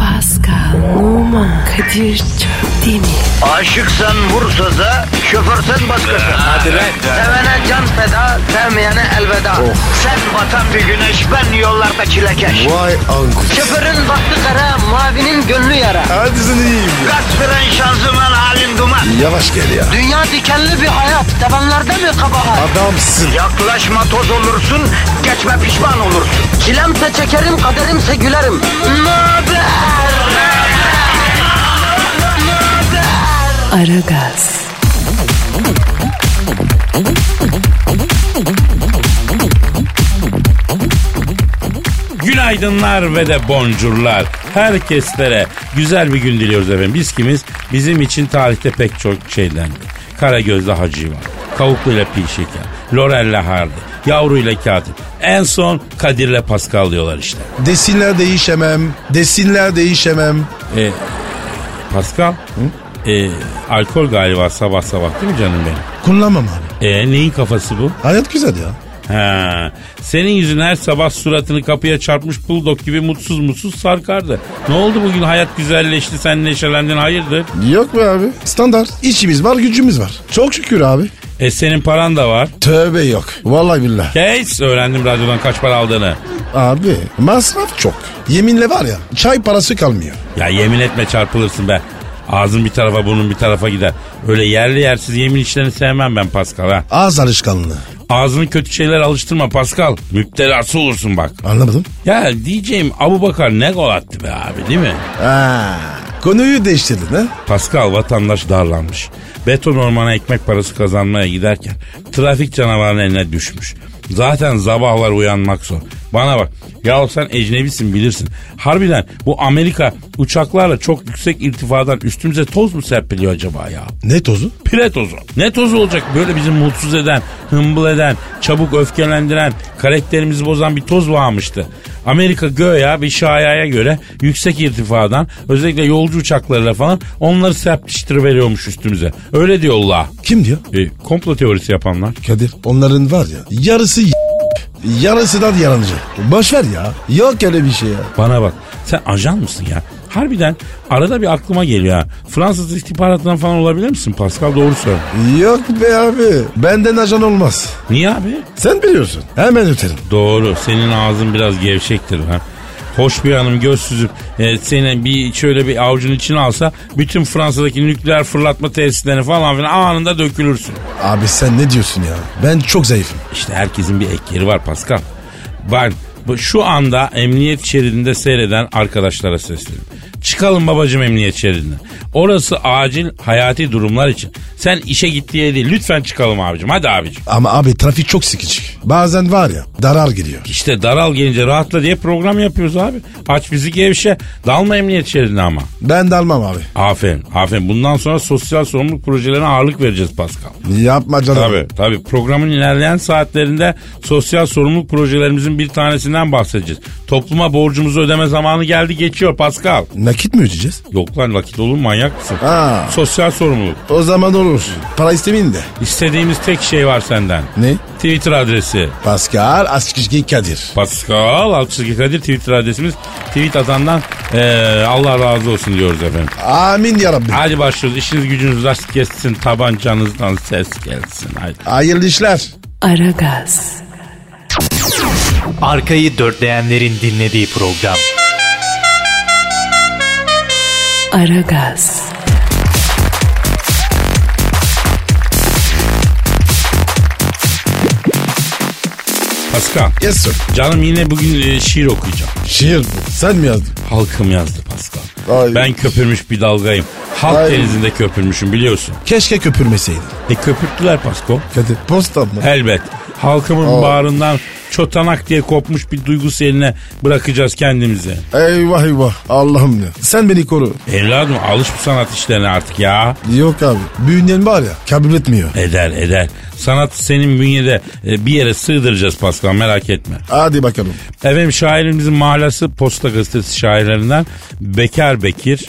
Pascal, Oman, Kadir çok değil mi? Aşıksan vursa da şoförsen başkasın. Hadi lan. Sevene can feda, sevmeyene elveda. Sen batan bir güneş, ben yollarda çilekeş. Vay anku. Şoförün baktı kara, mavinin gönlü yara. Hadi sen iyiyim ya. Kasperen şanzıman halin duman. Yavaş gel ya. Dünya dikenli bir hayat, sevenlerde mi kabahar? Adamsın. Yaklaşma toz olursun, geçme pişman olursun. Çilemse çekerim, kaderimse gülerim. Möber! Aragaz, Günaydınlar ve de boncurlar. Herkeslere güzel bir gün diliyoruz efendim. Biz kimiz? Bizim için tarihte pek çok şeyden. Karagöz'le Hacı var. Kavukluyla Pil Şeker. Lorel'le Hardy. Yavru'yla Katip. En son Kadir'le Pascal diyorlar işte. Desinler değişemem. Desinler değişemem. E, Pascal? E, alkol galiba sabah sabah değil mi canım benim? Kullanmam abi. E, neyin kafası bu? Hayat güzel ya. Ha, senin yüzün her sabah suratını kapıya çarpmış buldok gibi mutsuz mutsuz sarkardı. Ne oldu bugün hayat güzelleşti sen neşelendin hayırdır? Yok be abi. Standart. İşimiz var gücümüz var. Çok şükür abi. E senin paran da var. Tövbe yok. Vallahi billah. Kes öğrendim radyodan kaç para aldığını. Abi masraf çok. Yeminle var ya çay parası kalmıyor. Ya yemin etme çarpılırsın be. Ağzın bir tarafa burnun bir tarafa gider. Öyle yerli yersiz yemin işlerini sevmem ben Pascal ha. Ağız alışkanlığı. Ağzını kötü şeyler alıştırma Pascal. Müptelası olursun bak. Anlamadım. Ya diyeceğim Abu Bakar ne gol attı be abi değil mi? Ha, konuyu değiştirdin ha? Pascal vatandaş darlanmış. Beton ormana ekmek parası kazanmaya giderken trafik canavarının eline düşmüş. Zaten sabahlar uyanmak zor. Bana bak ya sen ecnebisin bilirsin. Harbiden bu Amerika uçaklarla çok yüksek irtifadan üstümüze toz mu serpiliyor acaba ya? Ne tozu? Pire tozu. Ne tozu olacak böyle bizi mutsuz eden, hımbıl eden, çabuk öfkelendiren, karakterimizi bozan bir toz varmıştı. Amerika göya bir şayaya göre yüksek irtifadan özellikle yolcu uçaklarıyla falan onları serpiştir veriyormuş üstümüze. Öyle diyor Allah. Kim diyor? E, komplo teorisi yapanlar. Kadir onların var ya yarısı y- yarısı da yalancı. Boş ver ya. Yok öyle bir şey ya. Bana bak sen ajan mısın ya? Harbiden arada bir aklıma geliyor ha. Fransız istihbaratından falan olabilir misin Pascal? Doğru söyle. Yok be abi. Benden ajan olmaz. Niye abi? Sen biliyorsun. Hemen öterim. Doğru. Senin ağzın biraz gevşektir lan. Hoş bir hanım göz süzüp e, seni bir şöyle bir avucun içine alsa bütün Fransa'daki nükleer fırlatma tesislerini falan filan anında dökülürsün. Abi sen ne diyorsun ya? Ben çok zayıfım. İşte herkesin bir ek yeri var Pascal. Ben bu- şu anda emniyet şeridinde seyreden arkadaşlara sesleniyorum. Çıkalım babacım emniyet şeridinden. Orası acil hayati durumlar için. Sen işe git diye değil. Lütfen çıkalım abicim. Hadi abicim. Ama abi trafik çok sıkıcı. Bazen var ya darar giriyor. İşte daral gelince rahatla diye program yapıyoruz abi. Aç bizi gevşe. Dalma emniyet şeridine ama. Ben de almam abi. Aferin, aferin. Bundan sonra sosyal sorumluluk projelerine ağırlık vereceğiz Pascal. Yapma canım. Tabii, tabii. Programın ilerleyen saatlerinde sosyal sorumluluk projelerimizin bir tanesinden bahsedeceğiz. Topluma borcumuzu ödeme zamanı geldi geçiyor Pascal. Nakit mi ödeyeceğiz? Yok lan vakit olur mu? manyak mısın? Ha. Sosyal sorumluluk. O zaman olur. Para istemeyin de. İstediğimiz tek şey var senden. Ne? Twitter adresi. Pascal Askizgi Kadir. Pascal Altçızki Kadir Twitter adresimiz. Tweet atandan eee, Allah razı olsun diyoruz efendim. Amin ya Rabbi. Hadi başlıyoruz. İşiniz gücünüz rast kessin. Tabancanızdan ses gelsin. Haydi. Hayırlı işler. Aragaz, Arkayı dörtleyenlerin dinlediği program. Aragaz, Pascal. Yes sir. Canım yine bugün e, şiir okuyacağım. Şiir bu. Sen mi yazdın? Halkım yazdı Pascal. Ay. Ben köpürmüş bir dalgayım. Halk Ay. denizinde köpürmüşüm biliyorsun. Keşke köpürmeseydin. E köpürttüler Pasko. Kadir posta mı? Elbet. Halkımın bağrından çotanak diye kopmuş bir duygu seline bırakacağız kendimizi. Eyvah eyvah Allah'ım ya. Sen beni koru. Evladım alış bu sanat işlerine artık ya. Yok abi. Büyüyen var ya kabul etmiyor. Eder eder. Sanat senin bünyede e, bir yere sığdıracağız Pascal merak etme. Hadi bakalım. Efendim şairimizin mahlası Posta Gazetesi şairlerinden Bekar Bekir.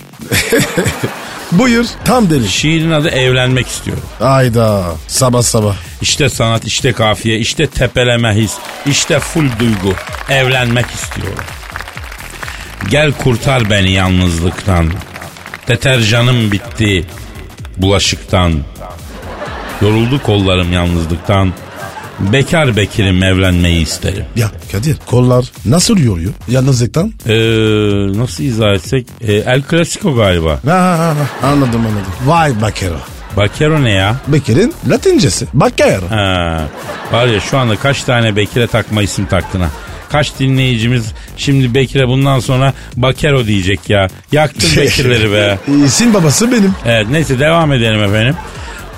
Buyur tam deli. Şiirin adı Evlenmek istiyorum. Ayda sabah sabah. İşte sanat, işte kafiye, işte tepeleme his, işte full duygu. Evlenmek istiyorum. Gel kurtar beni yalnızlıktan. Deterjanım bitti bulaşıktan. Yoruldu kollarım yalnızlıktan. Bekar bekirim evlenmeyi isterim. Ya Kadir kollar nasıl yoruyor yalnızlıktan? Ee, nasıl izah etsek? Ee, El Clasico galiba. Ha, ha, ha, ha, anladım anladım. Vay bakero. Bakero ne ya? Bekir'in latincesi. Bakero. Ha, var ya şu anda kaç tane Bekir'e takma isim taktın ha. Kaç dinleyicimiz şimdi Bekir'e bundan sonra Bakero diyecek ya. Yaktın Bekir'leri be. İsim babası benim. Evet neyse devam edelim efendim.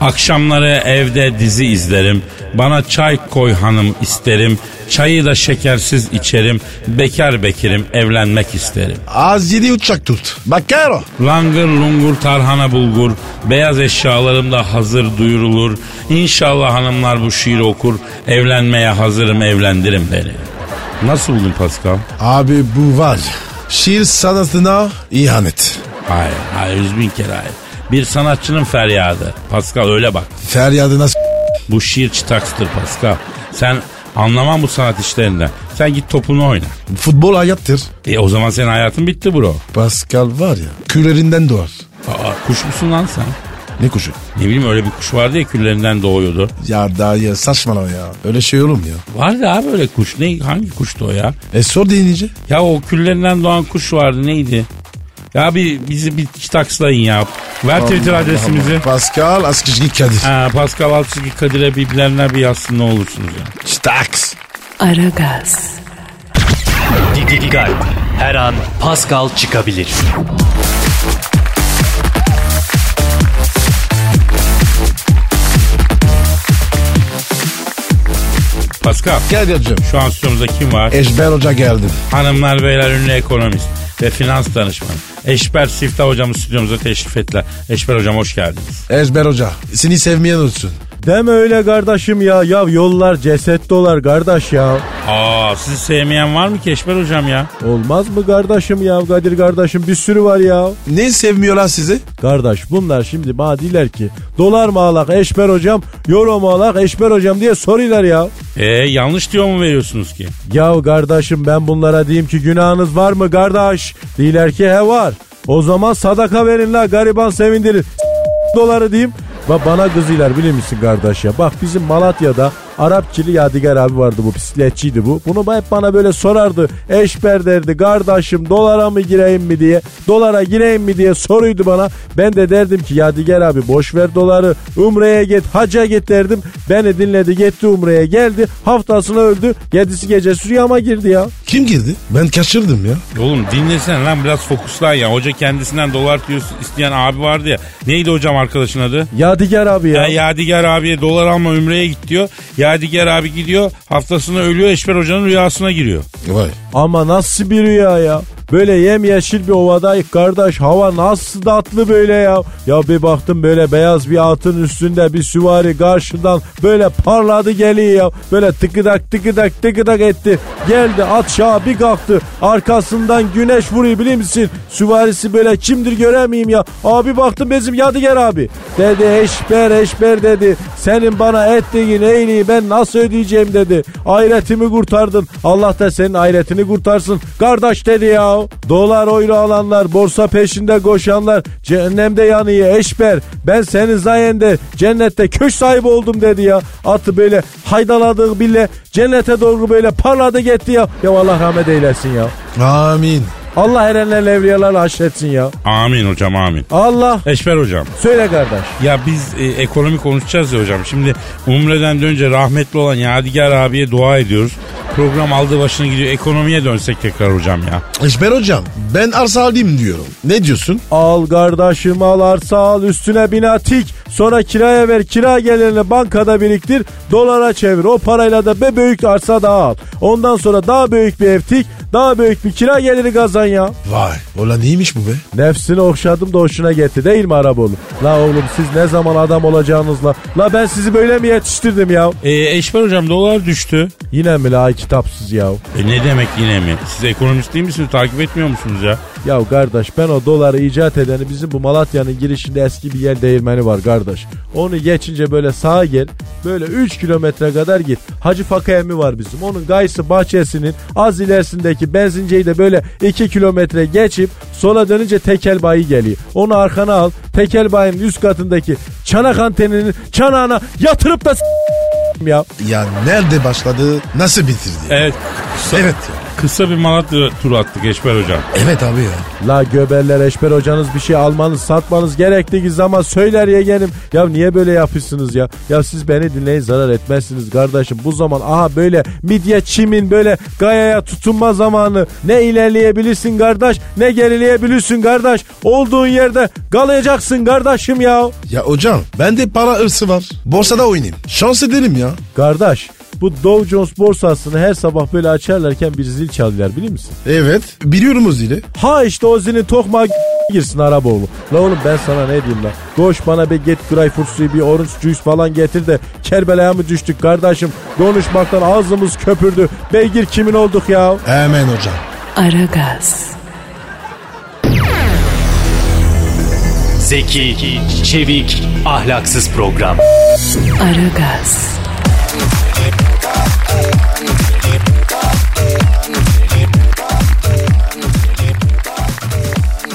Akşamları evde dizi izlerim. Bana çay koy hanım isterim. Çayı da şekersiz içerim. Bekar bekirim evlenmek isterim. Az yedi uçak tut. Bakero. Langır lungur tarhana bulgur. Beyaz eşyalarım da hazır duyurulur. İnşallah hanımlar bu şiiri okur. Evlenmeye hazırım evlendirin beni. Nasıl buldun Pascal? Abi bu var. ya, Şiir sanatına ihanet. Hayır, hayır yüz bin kere hayır. Bir sanatçının feryadı. Pascal öyle bak. Feryadına s- Bu şiir çıtakstır Pascal. Sen anlamam bu sanat işlerinden. Sen git topunu oyna. futbol hayattır. E o zaman senin hayatın bitti bro. Pascal var ya küllerinden doğar. Aa, kuş musun lan sen? Ne kuşu? Ne bileyim öyle bir kuş vardı ya küllerinden doğuyordu. Ya dayı saçmalama ya. Öyle şey olur mu ya? Vardı abi öyle kuş. Ne, hangi kuştu o ya? E sor deyince. Ya o küllerinden doğan kuş vardı neydi? Ya bir bizi bir takslayın ya. Ver Twitter adresimizi. Pascal Askışki Kadir. Ha, Pascal Altçıgı Kadir'e bir bilenler bir yazsın ne olursunuz ya. Staks. Aragaz, Didi Dikkat. Her an Pascal çıkabilir. Pascal Kadir'cim. şu an stüdyomuzda kim var? Eşber Hoca geldi. Hanımlar beyler ünlü ekonomist ve finans danışmanı. Eşber Siftah hocamız stüdyomuza teşrif ettiler. Eşber hocam hoş geldiniz. Eşber Hoca. Seni sevmeyen olsun. Deme öyle kardeşim ya. Ya yollar ceset dolar kardeş ya. Aa sizi sevmeyen var mı ki Eşber hocam ya? Olmaz mı kardeşim ya Kadir kardeşim bir sürü var ya. Ne sevmiyorlar sizi? Kardeş bunlar şimdi bana diler ki dolar mı alak eşber hocam euro mu alak eşber hocam diye soruyorlar ya. Ee yanlış diyor mu veriyorsunuz ki? Ya kardeşim ben bunlara diyeyim ki günahınız var mı kardeş? Diler ki he var. O zaman sadaka verin la gariban sevindirin. S- doları diyeyim. Ba bana kızıyorlar bilir misin kardeş ya? Bak bizim Malatya'da Arapçili Yadigar abi vardı bu bisikletçiydi bu. Bunu ba- hep bana böyle sorardı. Eşber derdi kardeşim dolara mı gireyim mi diye. Dolara gireyim mi diye soruydu bana. Ben de derdim ki Yadigar abi boş ver doları. Umre'ye git hacca git derdim. Beni dinledi gitti Umre'ye geldi. Haftasına öldü. Yedisi gece Süryama girdi ya. Kim girdi? Ben kaçırdım ya. Oğlum dinlesene lan biraz fokuslan ya. Hoca kendisinden dolar diyor isteyen abi vardı ya. Neydi hocam arkadaşın adı? Yadigar abi Ya Yadigar abiye dolar alma ümreye git diyor. Yadigar abi gidiyor haftasında ölüyor Eşber hocanın rüyasına giriyor. Vay. Ama nasıl bir rüya ya? Böyle yemyeşil bir ovadayız kardeş. Hava nasıl tatlı böyle ya. Ya bir baktım böyle beyaz bir atın üstünde bir süvari karşıdan böyle parladı geliyor ya. Böyle tıkıdak tıkıdak tıkıdak etti. Geldi at şaha bir kalktı. Arkasından güneş vuruyor biliyor musun? Süvarisi böyle kimdir göremeyeyim ya. Abi baktım bizim Yadigar abi. Dedi eşber eşber dedi. Senin bana ettiğin iyiliği ben nasıl ödeyeceğim dedi. Ayretimi kurtardın. Allah da senin ayretini kurtarsın. Kardeş dedi ya. Dolar euro alanlar, borsa peşinde koşanlar, cehennemde yanıyor eşber. Ben senin sayende cennette köş sahibi oldum dedi ya. Atı böyle haydaladığı bile cennete doğru böyle parladı gitti ya. Ya Allah rahmet eylesin ya. Amin. Allah erenlerle evliyalarla haşretsin ya. Amin hocam amin. Allah Eşber hocam. söyle kardeş. Ya biz e, ekonomi konuşacağız ya hocam. Şimdi Umre'den dönünce rahmetli olan Yadigar abiye dua ediyoruz. Program aldığı başına gidiyor. Ekonomiye dönsek tekrar hocam ya. Eşber Hocam ben arsa alayım diyorum. Ne diyorsun? Al kardeşim al arsa al üstüne bina tik. Sonra kiraya ver kira gelirini bankada biriktir. Dolara çevir o parayla da be büyük arsa daha al. Ondan sonra daha büyük bir ev tik. Daha büyük bir kira geliri kazan ya. Vay. Ulan neymiş bu be? Nefsini okşadım da hoşuna gitti değil mi araba oğlum? La oğlum siz ne zaman adam olacağınızla. La ben sizi böyle mi yetiştirdim ya? E, Eşber hocam dolar düştü. Yine mi la kitapsız ya? E, ne demek yine mi? Siz ekonomist değil misiniz? Takip etmiyor musunuz ya? Ya kardeş ben o doları icat edeni bizim bu Malatya'nın girişinde eski bir yer değirmeni var kardeş. Onu geçince böyle sağa gel. Böyle 3 kilometre kadar git. Hacı Fakı emmi var bizim. Onun gayısı bahçesinin az ilerisindeki benzinciyi de böyle 2 kilometre geçip sola dönünce tekel bayi geliyor. Onu arkana al. Tekel bayinin üst katındaki çanak anteninin çanağına yatırıp da s- ya. Ya nerede başladı nasıl bitirdi? ya? Evet. Kısa, Evet ya. Kısa bir Malatya turu attık Eşber Hocam. Evet abi ya. La göberler eşber hocanız bir şey almanız satmanız gerektiği zaman söyler yeğenim. Ya niye böyle yapıyorsunuz ya? Ya siz beni dinleyin zarar etmezsiniz kardeşim. Bu zaman aha böyle midye çimin böyle gayaya tutunma zamanı. Ne ilerleyebilirsin kardeş ne gerileyebilirsin kardeş. Olduğun yerde kalacaksın kardeşim ya. Ya hocam bende para hırsı var. Borsada oynayayım. Şans ederim ya. Kardeş bu Dow Jones borsasını her sabah böyle açarlarken bir zil çalıyorlar bilir misin? Evet. Biliyorum o zili. Ha işte o zilin tokmağı girsin araba oğlum. La oğlum ben sana ne diyeyim la. Koş bana bir get greyfurt suyu bir orange juice falan getir de Kerbela'ya mı düştük kardeşim? Konuşmaktan ağzımız köpürdü. Beygir kimin olduk ya? Hemen hocam. Aragaz, Zeki, çevik, ahlaksız program. Aragaz,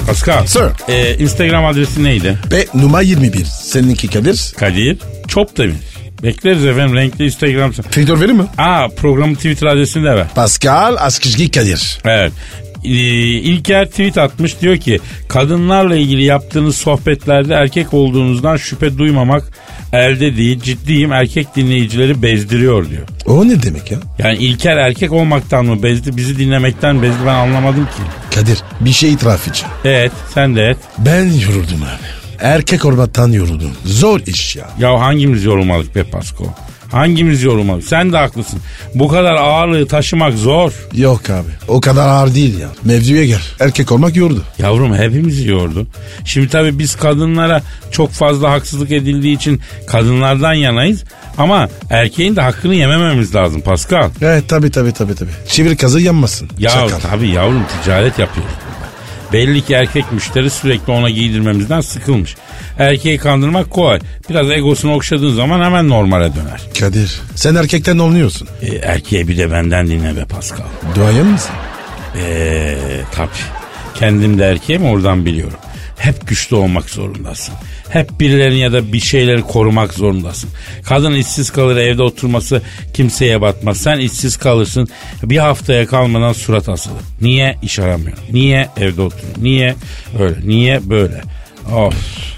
Pascal. Sir. Ee, Instagram adresi neydi? Ve numara 21. Seninki Kadir. Kadir Çopdemir. Bekleriz efendim renkli Instagram. Twitter verir mi? Aa programın Twitter adresini de ver. Pascal Askizgi Kadir. Evet. Ee, İlker tweet atmış diyor ki kadınlarla ilgili yaptığınız sohbetlerde erkek olduğunuzdan şüphe duymamak elde değil ciddiyim erkek dinleyicileri bezdiriyor diyor. O ne demek ya? Yani İlker erkek olmaktan mı bezdi bizi dinlemekten bezdi ben anlamadım ki. Kadir bir şey itiraf edeceğim. Evet sen de et. Ben yoruldum abi. Erkek olmaktan yoruldum. Zor iş ya. Ya hangimiz yorulmadık be Pasko? Hangimiz yorulmadık? Sen de haklısın. Bu kadar ağırlığı taşımak zor. Yok abi. O kadar ağır değil ya. Mevzuya gel. Erkek olmak yordu. Yavrum hepimizi yordu. Şimdi tabii biz kadınlara çok fazla haksızlık edildiği için kadınlardan yanayız. Ama erkeğin de hakkını yemememiz lazım Pascal. Evet tabi tabi tabi tabi. Çevir kazı yanmasın. Ya Çakal. tabii yavrum ticaret yapıyoruz. Belli ki erkek müşteri sürekli ona giydirmemizden sıkılmış. Erkeği kandırmak kolay. Biraz egosunu okşadığın zaman hemen normale döner. Kadir sen erkekten olmuyorsun. E, erkeğe bir de benden dinle be Pascal. Duayen mısın? Eee Ee, tabii. Kendim de erkeğim oradan biliyorum. Hep güçlü olmak zorundasın. Hep birilerini ya da bir şeyleri korumak zorundasın. Kadın işsiz kalır evde oturması kimseye batmaz. Sen işsiz kalırsın bir haftaya kalmadan surat asılır. Niye iş aramıyor? Niye evde oturuyor? Niye öyle? Niye böyle? Of.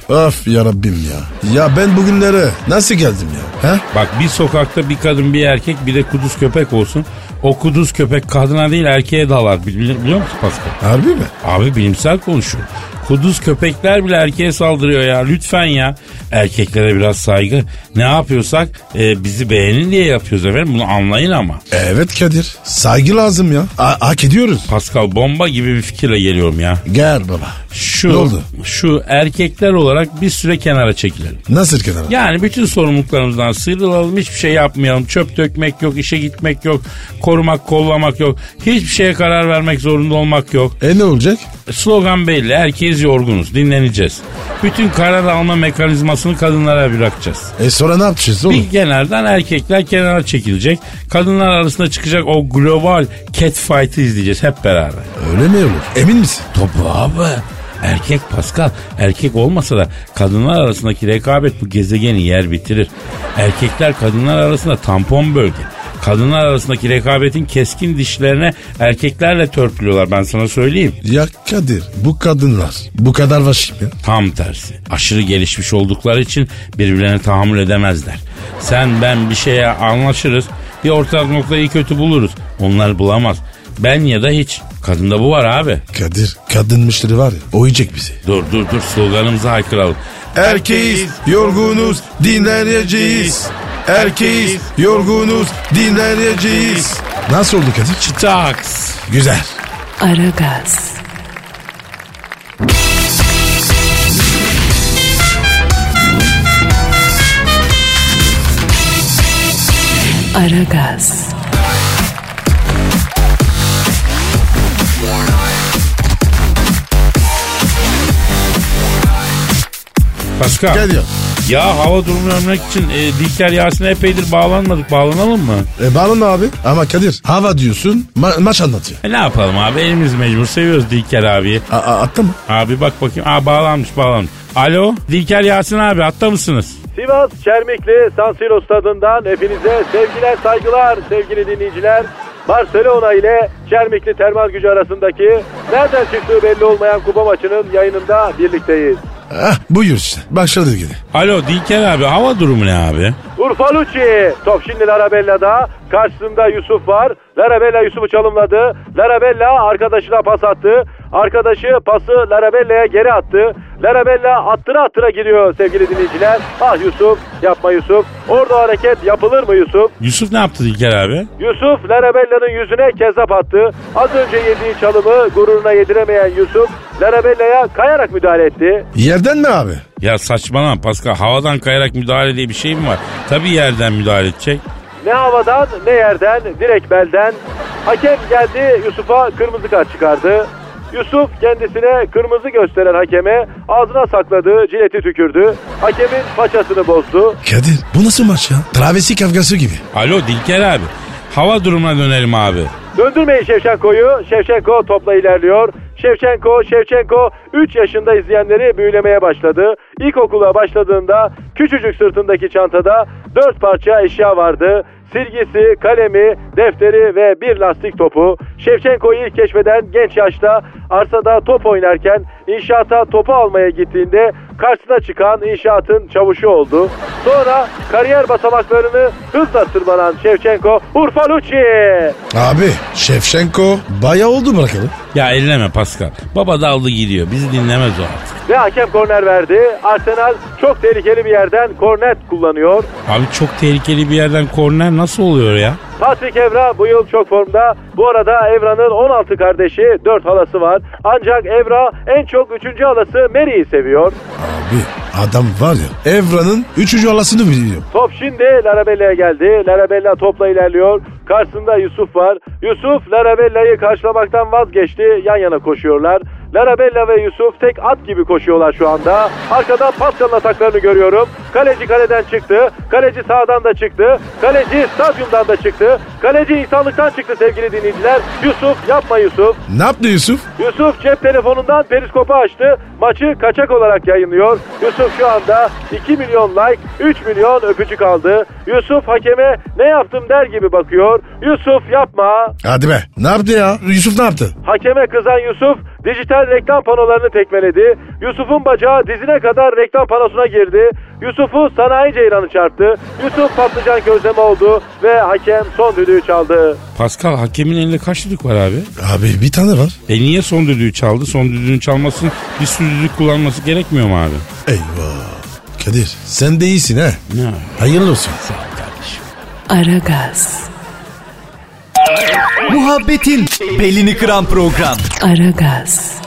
Of ya Rabbim ya. Ya ben bugünlere nasıl geldim ya? He? Bak bir sokakta bir kadın bir erkek bir de kuduz köpek olsun. O kuduz köpek kadına değil erkeğe dalar. Bili- Biliyor musun Pascal? Harbi mi? Abi bilimsel konuşuyor. Kuduz köpekler bile erkeğe saldırıyor ya. Lütfen ya. Erkeklere biraz saygı. Ne yapıyorsak e, bizi beğenin diye yapıyoruz efendim. Bunu anlayın ama. Evet Kadir. Saygı lazım ya. A- hak ediyoruz. Pascal bomba gibi bir fikirle geliyorum ya. Gel baba. Şu, Ne oldu? Şu erkekler olarak bir süre kenara çekilelim. Nasıl kenara? Yani bütün sorumluluklarımızdan sıyrılalım. Hiçbir şey yapmayalım. Çöp dökmek yok, işe gitmek yok, korumak, kollamak yok. Hiçbir şeye karar vermek zorunda olmak yok. E ne olacak? Slogan belli. Herkes yorgunuz. Dinleneceğiz. Bütün karar alma mekanizmasını kadınlara bırakacağız. E sonra ne yapacağız oğlum? Bir kenardan erkekler kenara çekilecek. Kadınlar arasında çıkacak o global catfight'ı izleyeceğiz hep beraber. Öyle mi olur? Emin misin? Topu abi. Erkek Pascal, erkek olmasa da kadınlar arasındaki rekabet bu gezegeni yer bitirir. Erkekler kadınlar arasında tampon bölge. Kadınlar arasındaki rekabetin keskin dişlerine erkeklerle törpülüyorlar ben sana söyleyeyim. Ya Kadir bu kadınlar bu kadar vahşi mi? Tam tersi. Aşırı gelişmiş oldukları için birbirlerine tahammül edemezler. Sen ben bir şeye anlaşırız. Bir ortak noktayı kötü buluruz. Onlar bulamaz. Ben ya da hiç. Kadında bu var abi. Kadir kadın müşteri var ya o yiyecek bizi. Dur dur dur sloganımızı haykıralım. Erkeğiz, yorgunuz, dinleneceğiz. Erkeğiz, yorgunuz, dinleneceğiz. Nasıl oldu Kadir? Çıtaks. Güzel. Aragaz, Aragaz, Pascal. Geliyor. Ya hava durumunu örnek için e, Dikter Yasin'e epeydir bağlanmadık. Bağlanalım mı? E bağlanma abi. Ama Kadir hava diyorsun ma- maç anlatıyor. E ne yapalım abi elimiz mecbur seviyoruz Dilker abiyi. A- a- attı mı? Abi bak bakayım. Aa bağlanmış bağlanmış. Alo Dilker Yasin abi hatta mısınız? Sivas Çermikli San Siro stadından hepinize sevgiler saygılar sevgili dinleyiciler. Barcelona ile Çermikli Termal Gücü arasındaki nereden çıktığı belli olmayan kupa maçının yayınında birlikteyiz. Ah, buyur işte. Başladı yine. Alo Dilker abi hava durumu ne abi? Urfa Lucci. Top şimdi Larabella'da. Karşısında Yusuf var. Larabella Yusuf'u çalımladı. Larabella arkadaşına pas attı. Arkadaşı pası Larabella'ya geri attı. Larabella attıra attıra gidiyor sevgili dinleyiciler. Ah Yusuf yapma Yusuf. Orada hareket yapılır mı Yusuf? Yusuf ne yaptı Dilker abi? Yusuf Larabella'nın yüzüne kezzap attı. Az önce yediği çalımı gururuna yediremeyen Yusuf Larabella'ya kayarak müdahale etti. Yerden mi abi? Ya saçmalama Pascal havadan kayarak müdahale diye bir şey mi var? Tabii yerden müdahale edecek. Ne havadan ne yerden direkt belden. Hakem geldi Yusuf'a kırmızı kart çıkardı. Yusuf kendisine kırmızı gösteren hakeme ağzına sakladığı cileti tükürdü. Hakemin paçasını bozdu. Kadir bu nasıl maç ya? Travesi kavgası gibi. Alo Dilker abi hava durumuna dönelim abi. Döndürmeyin Şevçenko'yu. Şevçenko topla ilerliyor. Şevçenko, Şevçenko 3 yaşında izleyenleri büyülemeye başladı. İlkokula başladığında küçücük sırtındaki çantada 4 parça eşya vardı. Silgisi, kalemi, defteri ve bir lastik topu. Şevçenko'yu ilk keşfeden genç yaşta arsada top oynarken inşaata topu almaya gittiğinde karşısına çıkan inşaatın çavuşu oldu. Sonra kariyer basamaklarını hızla tırmanan Şevçenko Urfa Lucci. Abi Şevşenko bayağı oldu bırakalım. Ya elleme Pascal. Baba daldı gidiyor. Bizi dinlemez o artık. Ve hakem korner verdi. Arsenal çok tehlikeli bir yerden kornet kullanıyor. Abi çok tehlikeli bir yerden korner nasıl oluyor ya? Patrick Evra bu yıl çok formda. Bu arada Evra'nın 16 kardeşi 4 halası var. Ancak Evra en çok 3. halası Mary'i seviyor. Abi adam var ya Evra'nın üçüncü alasını biliyor. Top şimdi Larabella'ya geldi. Larabella topla ilerliyor. Karşısında Yusuf var. Yusuf Larabella'yı karşılamaktan vazgeçti. Yan yana koşuyorlar. Larabella ve Yusuf tek at gibi koşuyorlar şu anda. Arkadan Pascal'ın ataklarını görüyorum. Kaleci kaleden çıktı. Kaleci sağdan da çıktı. Kaleci stadyumdan da çıktı. Kaleci insanlıktan çıktı sevgili dinleyiciler. Yusuf yapma Yusuf. Ne yaptı Yusuf? Yusuf cep telefonundan periskopu açtı. Maçı kaçak olarak yayınlıyor. Yusuf şu anda 2 milyon like, 3 milyon öpücük aldı. Yusuf hakeme ne yaptım der gibi bakıyor. Yusuf yapma. Hadi be. Ne yaptı ya? Yusuf ne yaptı? Hakeme kızan Yusuf dijital reklam panolarını tekmeledi. Yusuf'un bacağı dizine kadar reklam panosuna girdi. Yusuf'u sanayi ceyranı çarptı. Yusuf patlıcan gözleme oldu ve hakem son düdüğü çaldı. Pascal hakemin elinde kaç düdük var abi? Abi bir tane var. E niye son düdüğü çaldı? Son düdüğün çalmasın bir sürü düdük kullanması gerekmiyor mu abi? Eyvah. Kadir sen de iyisin ha. Ne? Hayırlı olsun. Aragaz, Muhabbetin belini kıran program. Aragaz,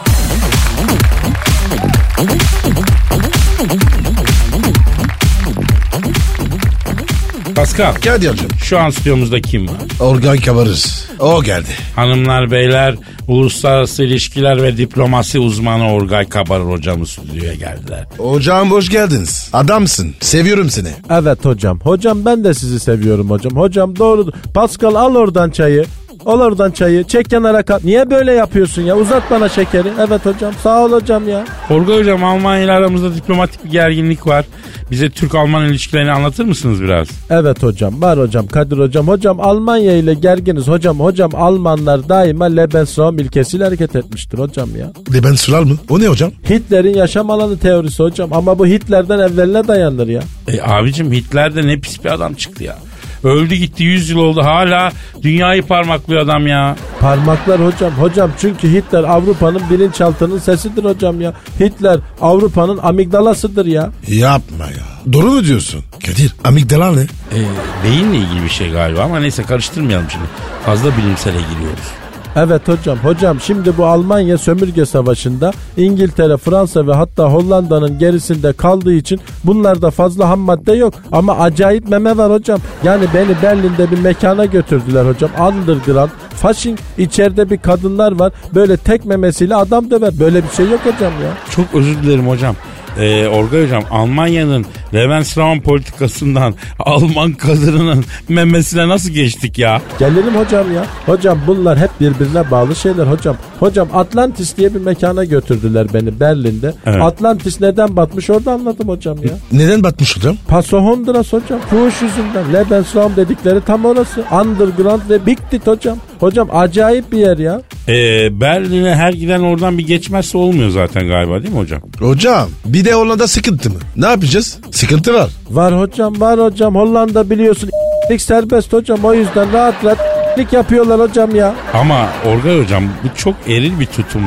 Pascal Kadir'cim şu an stüdyomuzda kim var? organ kabarır. O geldi. Hanımlar beyler uluslararası ilişkiler ve diplomasi uzmanı Orgay Kabarır hocamız stüdyoya geldiler. Hocam hoş geldiniz. Adamsın. Seviyorum seni. Evet hocam. Hocam ben de sizi seviyorum hocam. Hocam doğru. Pascal al oradan çayı. Al oradan çayı. Çek kenara kat. Niye böyle yapıyorsun ya? Uzat bana şekeri. Evet hocam. Sağ ol hocam ya. Orgay hocam Almanya ile aramızda diplomatik bir gerginlik var. Bize Türk-Alman ilişkilerini anlatır mısınız biraz? Evet hocam. Var hocam. Kadir hocam. Hocam Almanya ile gerginiz hocam. Hocam Almanlar daima Lebensraum ilkesiyle hareket etmiştir hocam ya. De ben sular mı? O ne hocam? Hitler'in yaşam alanı teorisi hocam. Ama bu Hitler'den evveline dayanır ya. E abicim Hitler de ne pis bir adam çıktı ya. Öldü gitti 100 yıl oldu hala dünyayı parmaklıyor adam ya. Parmaklar hocam. Hocam çünkü Hitler Avrupa'nın bilinçaltının sesidir hocam ya. Hitler Avrupa'nın amigdalasıdır ya. Yapma ya. Doğru mu diyorsun? Kadir amigdala ne? E, beyinle ilgili bir şey galiba ama neyse karıştırmayalım şimdi. Fazla bilimsele giriyoruz. Evet hocam. Hocam şimdi bu Almanya sömürge savaşında İngiltere, Fransa ve hatta Hollanda'nın gerisinde kaldığı için bunlarda fazla ham madde yok. Ama acayip meme var hocam. Yani beni Berlin'de bir mekana götürdüler hocam. Underground. Fasching içeride bir kadınlar var. Böyle tek memesiyle adam döver. Böyle bir şey yok hocam ya. Çok özür dilerim hocam. Ee, Orgay Hocam Almanya'nın Lebensraum politikasından Alman kadınının memesine nasıl geçtik ya? Gelelim hocam ya. Hocam bunlar hep birbirine bağlı şeyler hocam. Hocam Atlantis diye bir mekana götürdüler beni Berlin'de. Evet. Atlantis neden batmış orada anladım hocam ya. Neden batmış hocam? Paso Honduras hocam. Fuhuş yüzünden. Lebensraum dedikleri tam orası. Underground ve Big Tit hocam. Hocam acayip bir yer ya. Ee, Berlin'e her giden oradan bir geçmezse olmuyor zaten galiba değil mi hocam? Hocam bir de Hollanda sıkıntı mı? Ne yapacağız? Sıkıntı var. Var hocam var hocam. Hollanda biliyorsun lik serbest hocam. O yüzden rahat rahat lik yapıyorlar hocam ya. Ama Orgay Hocam bu çok eril bir tutum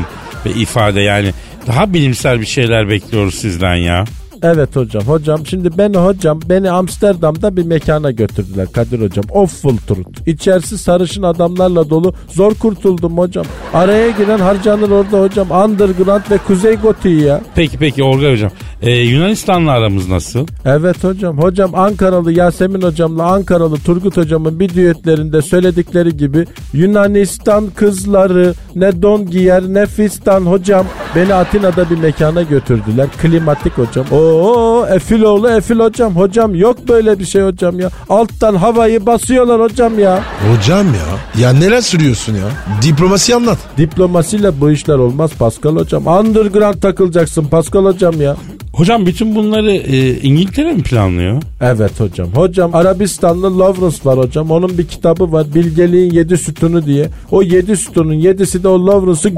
ve ifade yani. Daha bilimsel bir şeyler bekliyoruz sizden ya. Evet hocam hocam şimdi beni hocam beni Amsterdam'da bir mekana götürdüler Kadir hocam. Awful Truth. İçerisi sarışın adamlarla dolu zor kurtuldum hocam. Araya giren harcanır orada hocam. Underground ve Kuzey Gotiği ya. Peki peki Orgay Hocam. Ee, Yunanistan'la aramız nasıl? Evet hocam. Hocam Ankaralı Yasemin hocamla Ankaralı Turgut hocamın bir düetlerinde söyledikleri gibi Yunanistan kızları ne don giyer ne fistan hocam. Beni Atina'da bir mekana götürdüler. Klimatik hocam. Oo Efil oğlu Efil hocam. Hocam yok böyle bir şey hocam ya. Alttan havayı basıyorlar hocam ya. Hocam ya. Ya neler sürüyorsun ya? Diplomasi anlat. Diplomasiyle bu işler olmaz Pascal hocam. Underground takılacaksın Pascal hocam ya. Hocam bütün bunları e, İngiltere mi planlıyor? Evet hocam. Hocam Arabistanlı Lawrence var hocam. Onun bir kitabı var. Bilgeliğin yedi sütunu diye. O yedi sütunun yedisi de o Lawrence'ı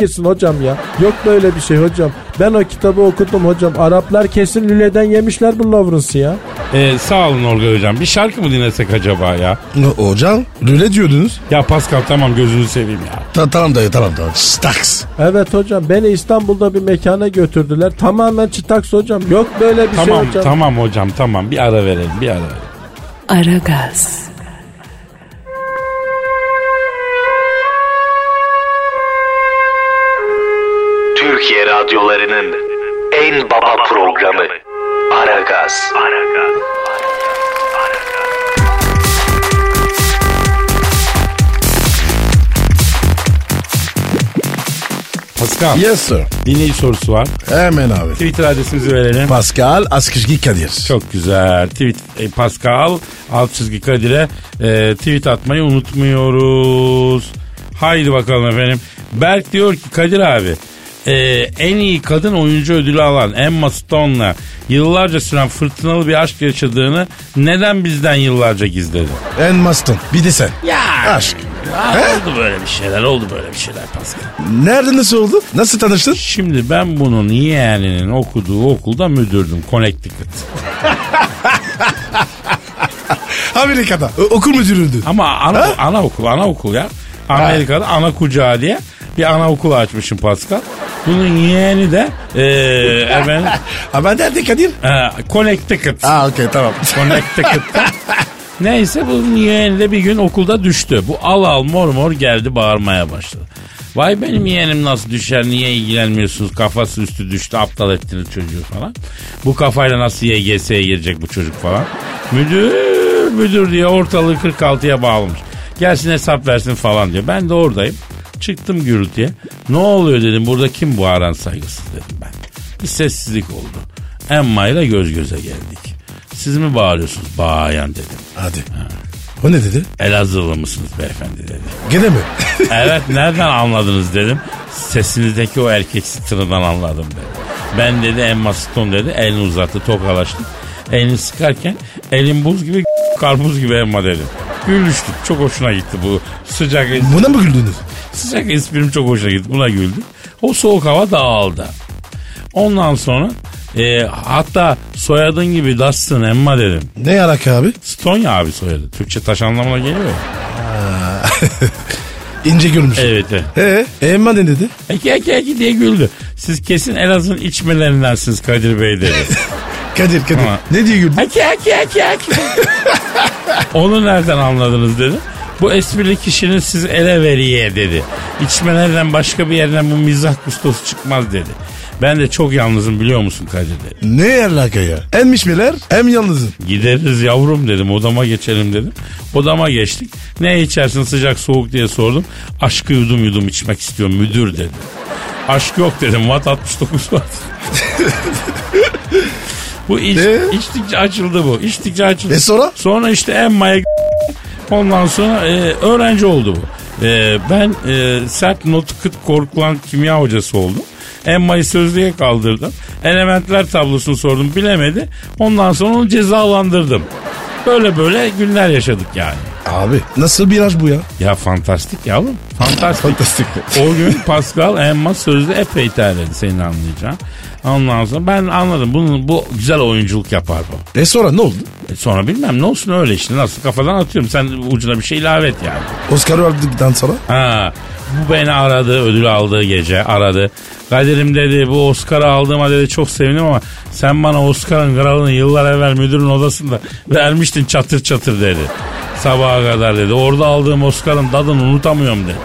girsin hocam ya. Yok böyle bir şey hocam. Ben o kitabı okudum hocam. Araplar kesin lüleden yemişler bu Lawrence'ı ya. Ee, sağ olun Orgay Hocam. Bir şarkı mı dinlesek acaba ya? Hocam öyle diyordunuz. Ya Pascal tamam gözünü seveyim ya. Ta tamam dayı tamam tamam. Staks. Evet hocam beni İstanbul'da bir mekana götürdüler. Tamamen çıtaks hocam. Yok böyle bir tamam şey hocam. tamam hocam tamam bir ara verelim bir ara verelim. Aragaz, Türkiye radyolarının en baba programı Aragaz. Pascal Yes sir. dinleyici sorusu var. Hemen abi. Twitter adresimizi verelim. Pascal Askışki Kadir. Çok güzel. Tweet e, Pascal alt çizgi Kadir'e e, tweet atmayı unutmuyoruz. Haydi bakalım efendim. Berk diyor ki Kadir abi e, en iyi kadın oyuncu ödülü alan Emma Stone'la yıllarca süren fırtınalı bir aşk yaşadığını neden bizden yıllarca gizledi? En Maston. Bir de sen. Ya Aşk. Ah, He? oldu böyle bir şeyler oldu böyle bir şeyler Pascal. Nerede nasıl oldu? Nasıl tanıştın? Şimdi ben bunun yeğeninin okuduğu okulda müdürdüm Connecticut. Amerika'da. O- okul müdürüydü. Ama ana, anaokul anaokul ya. Amerika'da ana kucağı diye bir anaokul açmışım Pascal. Bunun yeğeni de e, efendim, Ama nerede Kadir? e, Connecticut. Aa okey tamam. Connecticut'ta. Neyse bunun yeğeni de bir gün okulda düştü. Bu al al mor mor geldi bağırmaya başladı. Vay benim yeğenim nasıl düşer niye ilgilenmiyorsunuz kafası üstü düştü aptal ettiniz çocuğu falan. Bu kafayla nasıl YGS'ye girecek bu çocuk falan. Müdür müdür diye ortalığı 46'ya bağlamış. Gelsin hesap versin falan diyor. Ben de oradayım. Çıktım gürültüye. Ne oluyor dedim burada kim bu aran saygısız dedim ben. Bir sessizlik oldu. Emma ile göz göze geldik. Siz mi bağırıyorsunuz bayan dedim. Hadi. O ne dedi? Elazığlı mısınız beyefendi dedi. Gene mi? evet nereden anladınız dedim. Sesinizdeki o erkeksi tınıdan anladım dedi. Ben dedi Emma Stone dedi elini uzattı tokalaştı. Elini sıkarken elin buz gibi karpuz gibi Emma dedi. Gülüştük çok hoşuna gitti bu sıcak Buna mı güldünüz? Sıcak esprim çok hoşuna gitti. Buna güldüm. O soğuk hava dağıldı. Ondan sonra e, hatta soyadın gibi Dustin Emma dedim. Ne alaka abi? Stone ya abi soyadı. Türkçe taş anlamına geliyor ya. İnce gülmüş. Evet evet. Ee, Emma ne dedi? Eki eki eki diye güldü. Siz kesin Elazığ'ın içmelerindensiniz Kadir Bey dedi. Kadir Kadir. Ama- Ne diye güldün? eki eki eki eki. Onu nereden anladınız dedi. Bu esprili kişinin siz ele veriye dedi. İçmelerden başka bir yerden bu mizah kustosu çıkmaz dedi. Ben de çok yalnızım biliyor musun Kadir dedi. Ne alaka ya? Enmiş miler hem yalnızın. Gideriz yavrum dedim odama geçelim dedim. Odama geçtik. Ne içersin sıcak soğuk diye sordum. Aşkı yudum yudum içmek istiyorum müdür dedi. Aşk yok dedim. Watt 69 var. bu iç, Ee? içtikçe açıldı bu. İçtikçe açıldı. E sonra? Sonra işte emmaya ondan sonra e, öğrenci oldu bu. E, ben e, sert notu kıt korkulan kimya hocası oldum. Emma'yı sözlüğe kaldırdım. Elementler tablosunu sordum bilemedi. Ondan sonra onu cezalandırdım. Böyle böyle günler yaşadık yani. Abi nasıl bir ilaç bu ya? Ya fantastik ya oğlum. Fantastik. Fantastik. O gün Pascal Emma sözde epey terledi senin anlayacağın. Ondan sonra ben anladım. Bunun, bu güzel oyunculuk yapar bu. E sonra ne oldu? E sonra bilmem ne olsun öyle işte. Nasıl kafadan atıyorum. Sen ucuna bir şey ilave et yani. Oscar verdikten sonra Ha, bu beni aradı ödül aldığı gece aradı. Kadir'im dedi bu Oscar'ı aldığıma dedi çok sevindim ama sen bana Oscar'ın kralını yıllar evvel müdürün odasında vermiştin çatır çatır dedi. Sabaha kadar dedi orada aldığım Oscar'ın tadını unutamıyorum dedi.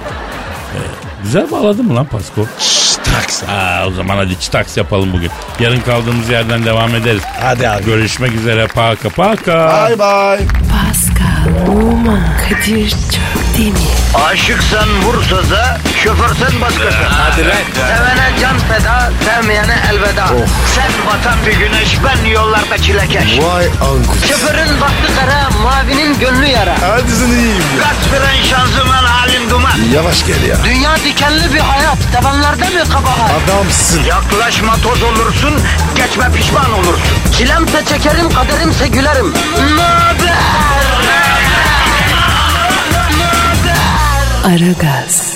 Ee, güzel bağladın mı lan Pasko? Straks. Aa, o zaman hadi çıtaks yapalım bugün. Yarın kaldığımız yerden devam ederiz. Hadi abi. Görüşmek üzere paka paka. Bye bye. Pascal, Oman, Kadir çok değil mi? Aşıksan vursa da, şoförsen başkasın. Hadi Sevene can feda, sevmeyene elveda. Sen batan bir güneş, ben yollarda çilekeş. Vay anku. Şoförün baktı kara, mavinin gönlü yara. Hadi sen iyiyim ya. Kasperen şanzıman halin duman. Yavaş gel ya. Dünya dikenli bir hayat, sevenlerde mi kabahar? Adamsın. Yaklaşma toz olursun, geçme pişman olursun. Çilemse çekerim, kaderimse gülerim. Möber! Aragaz.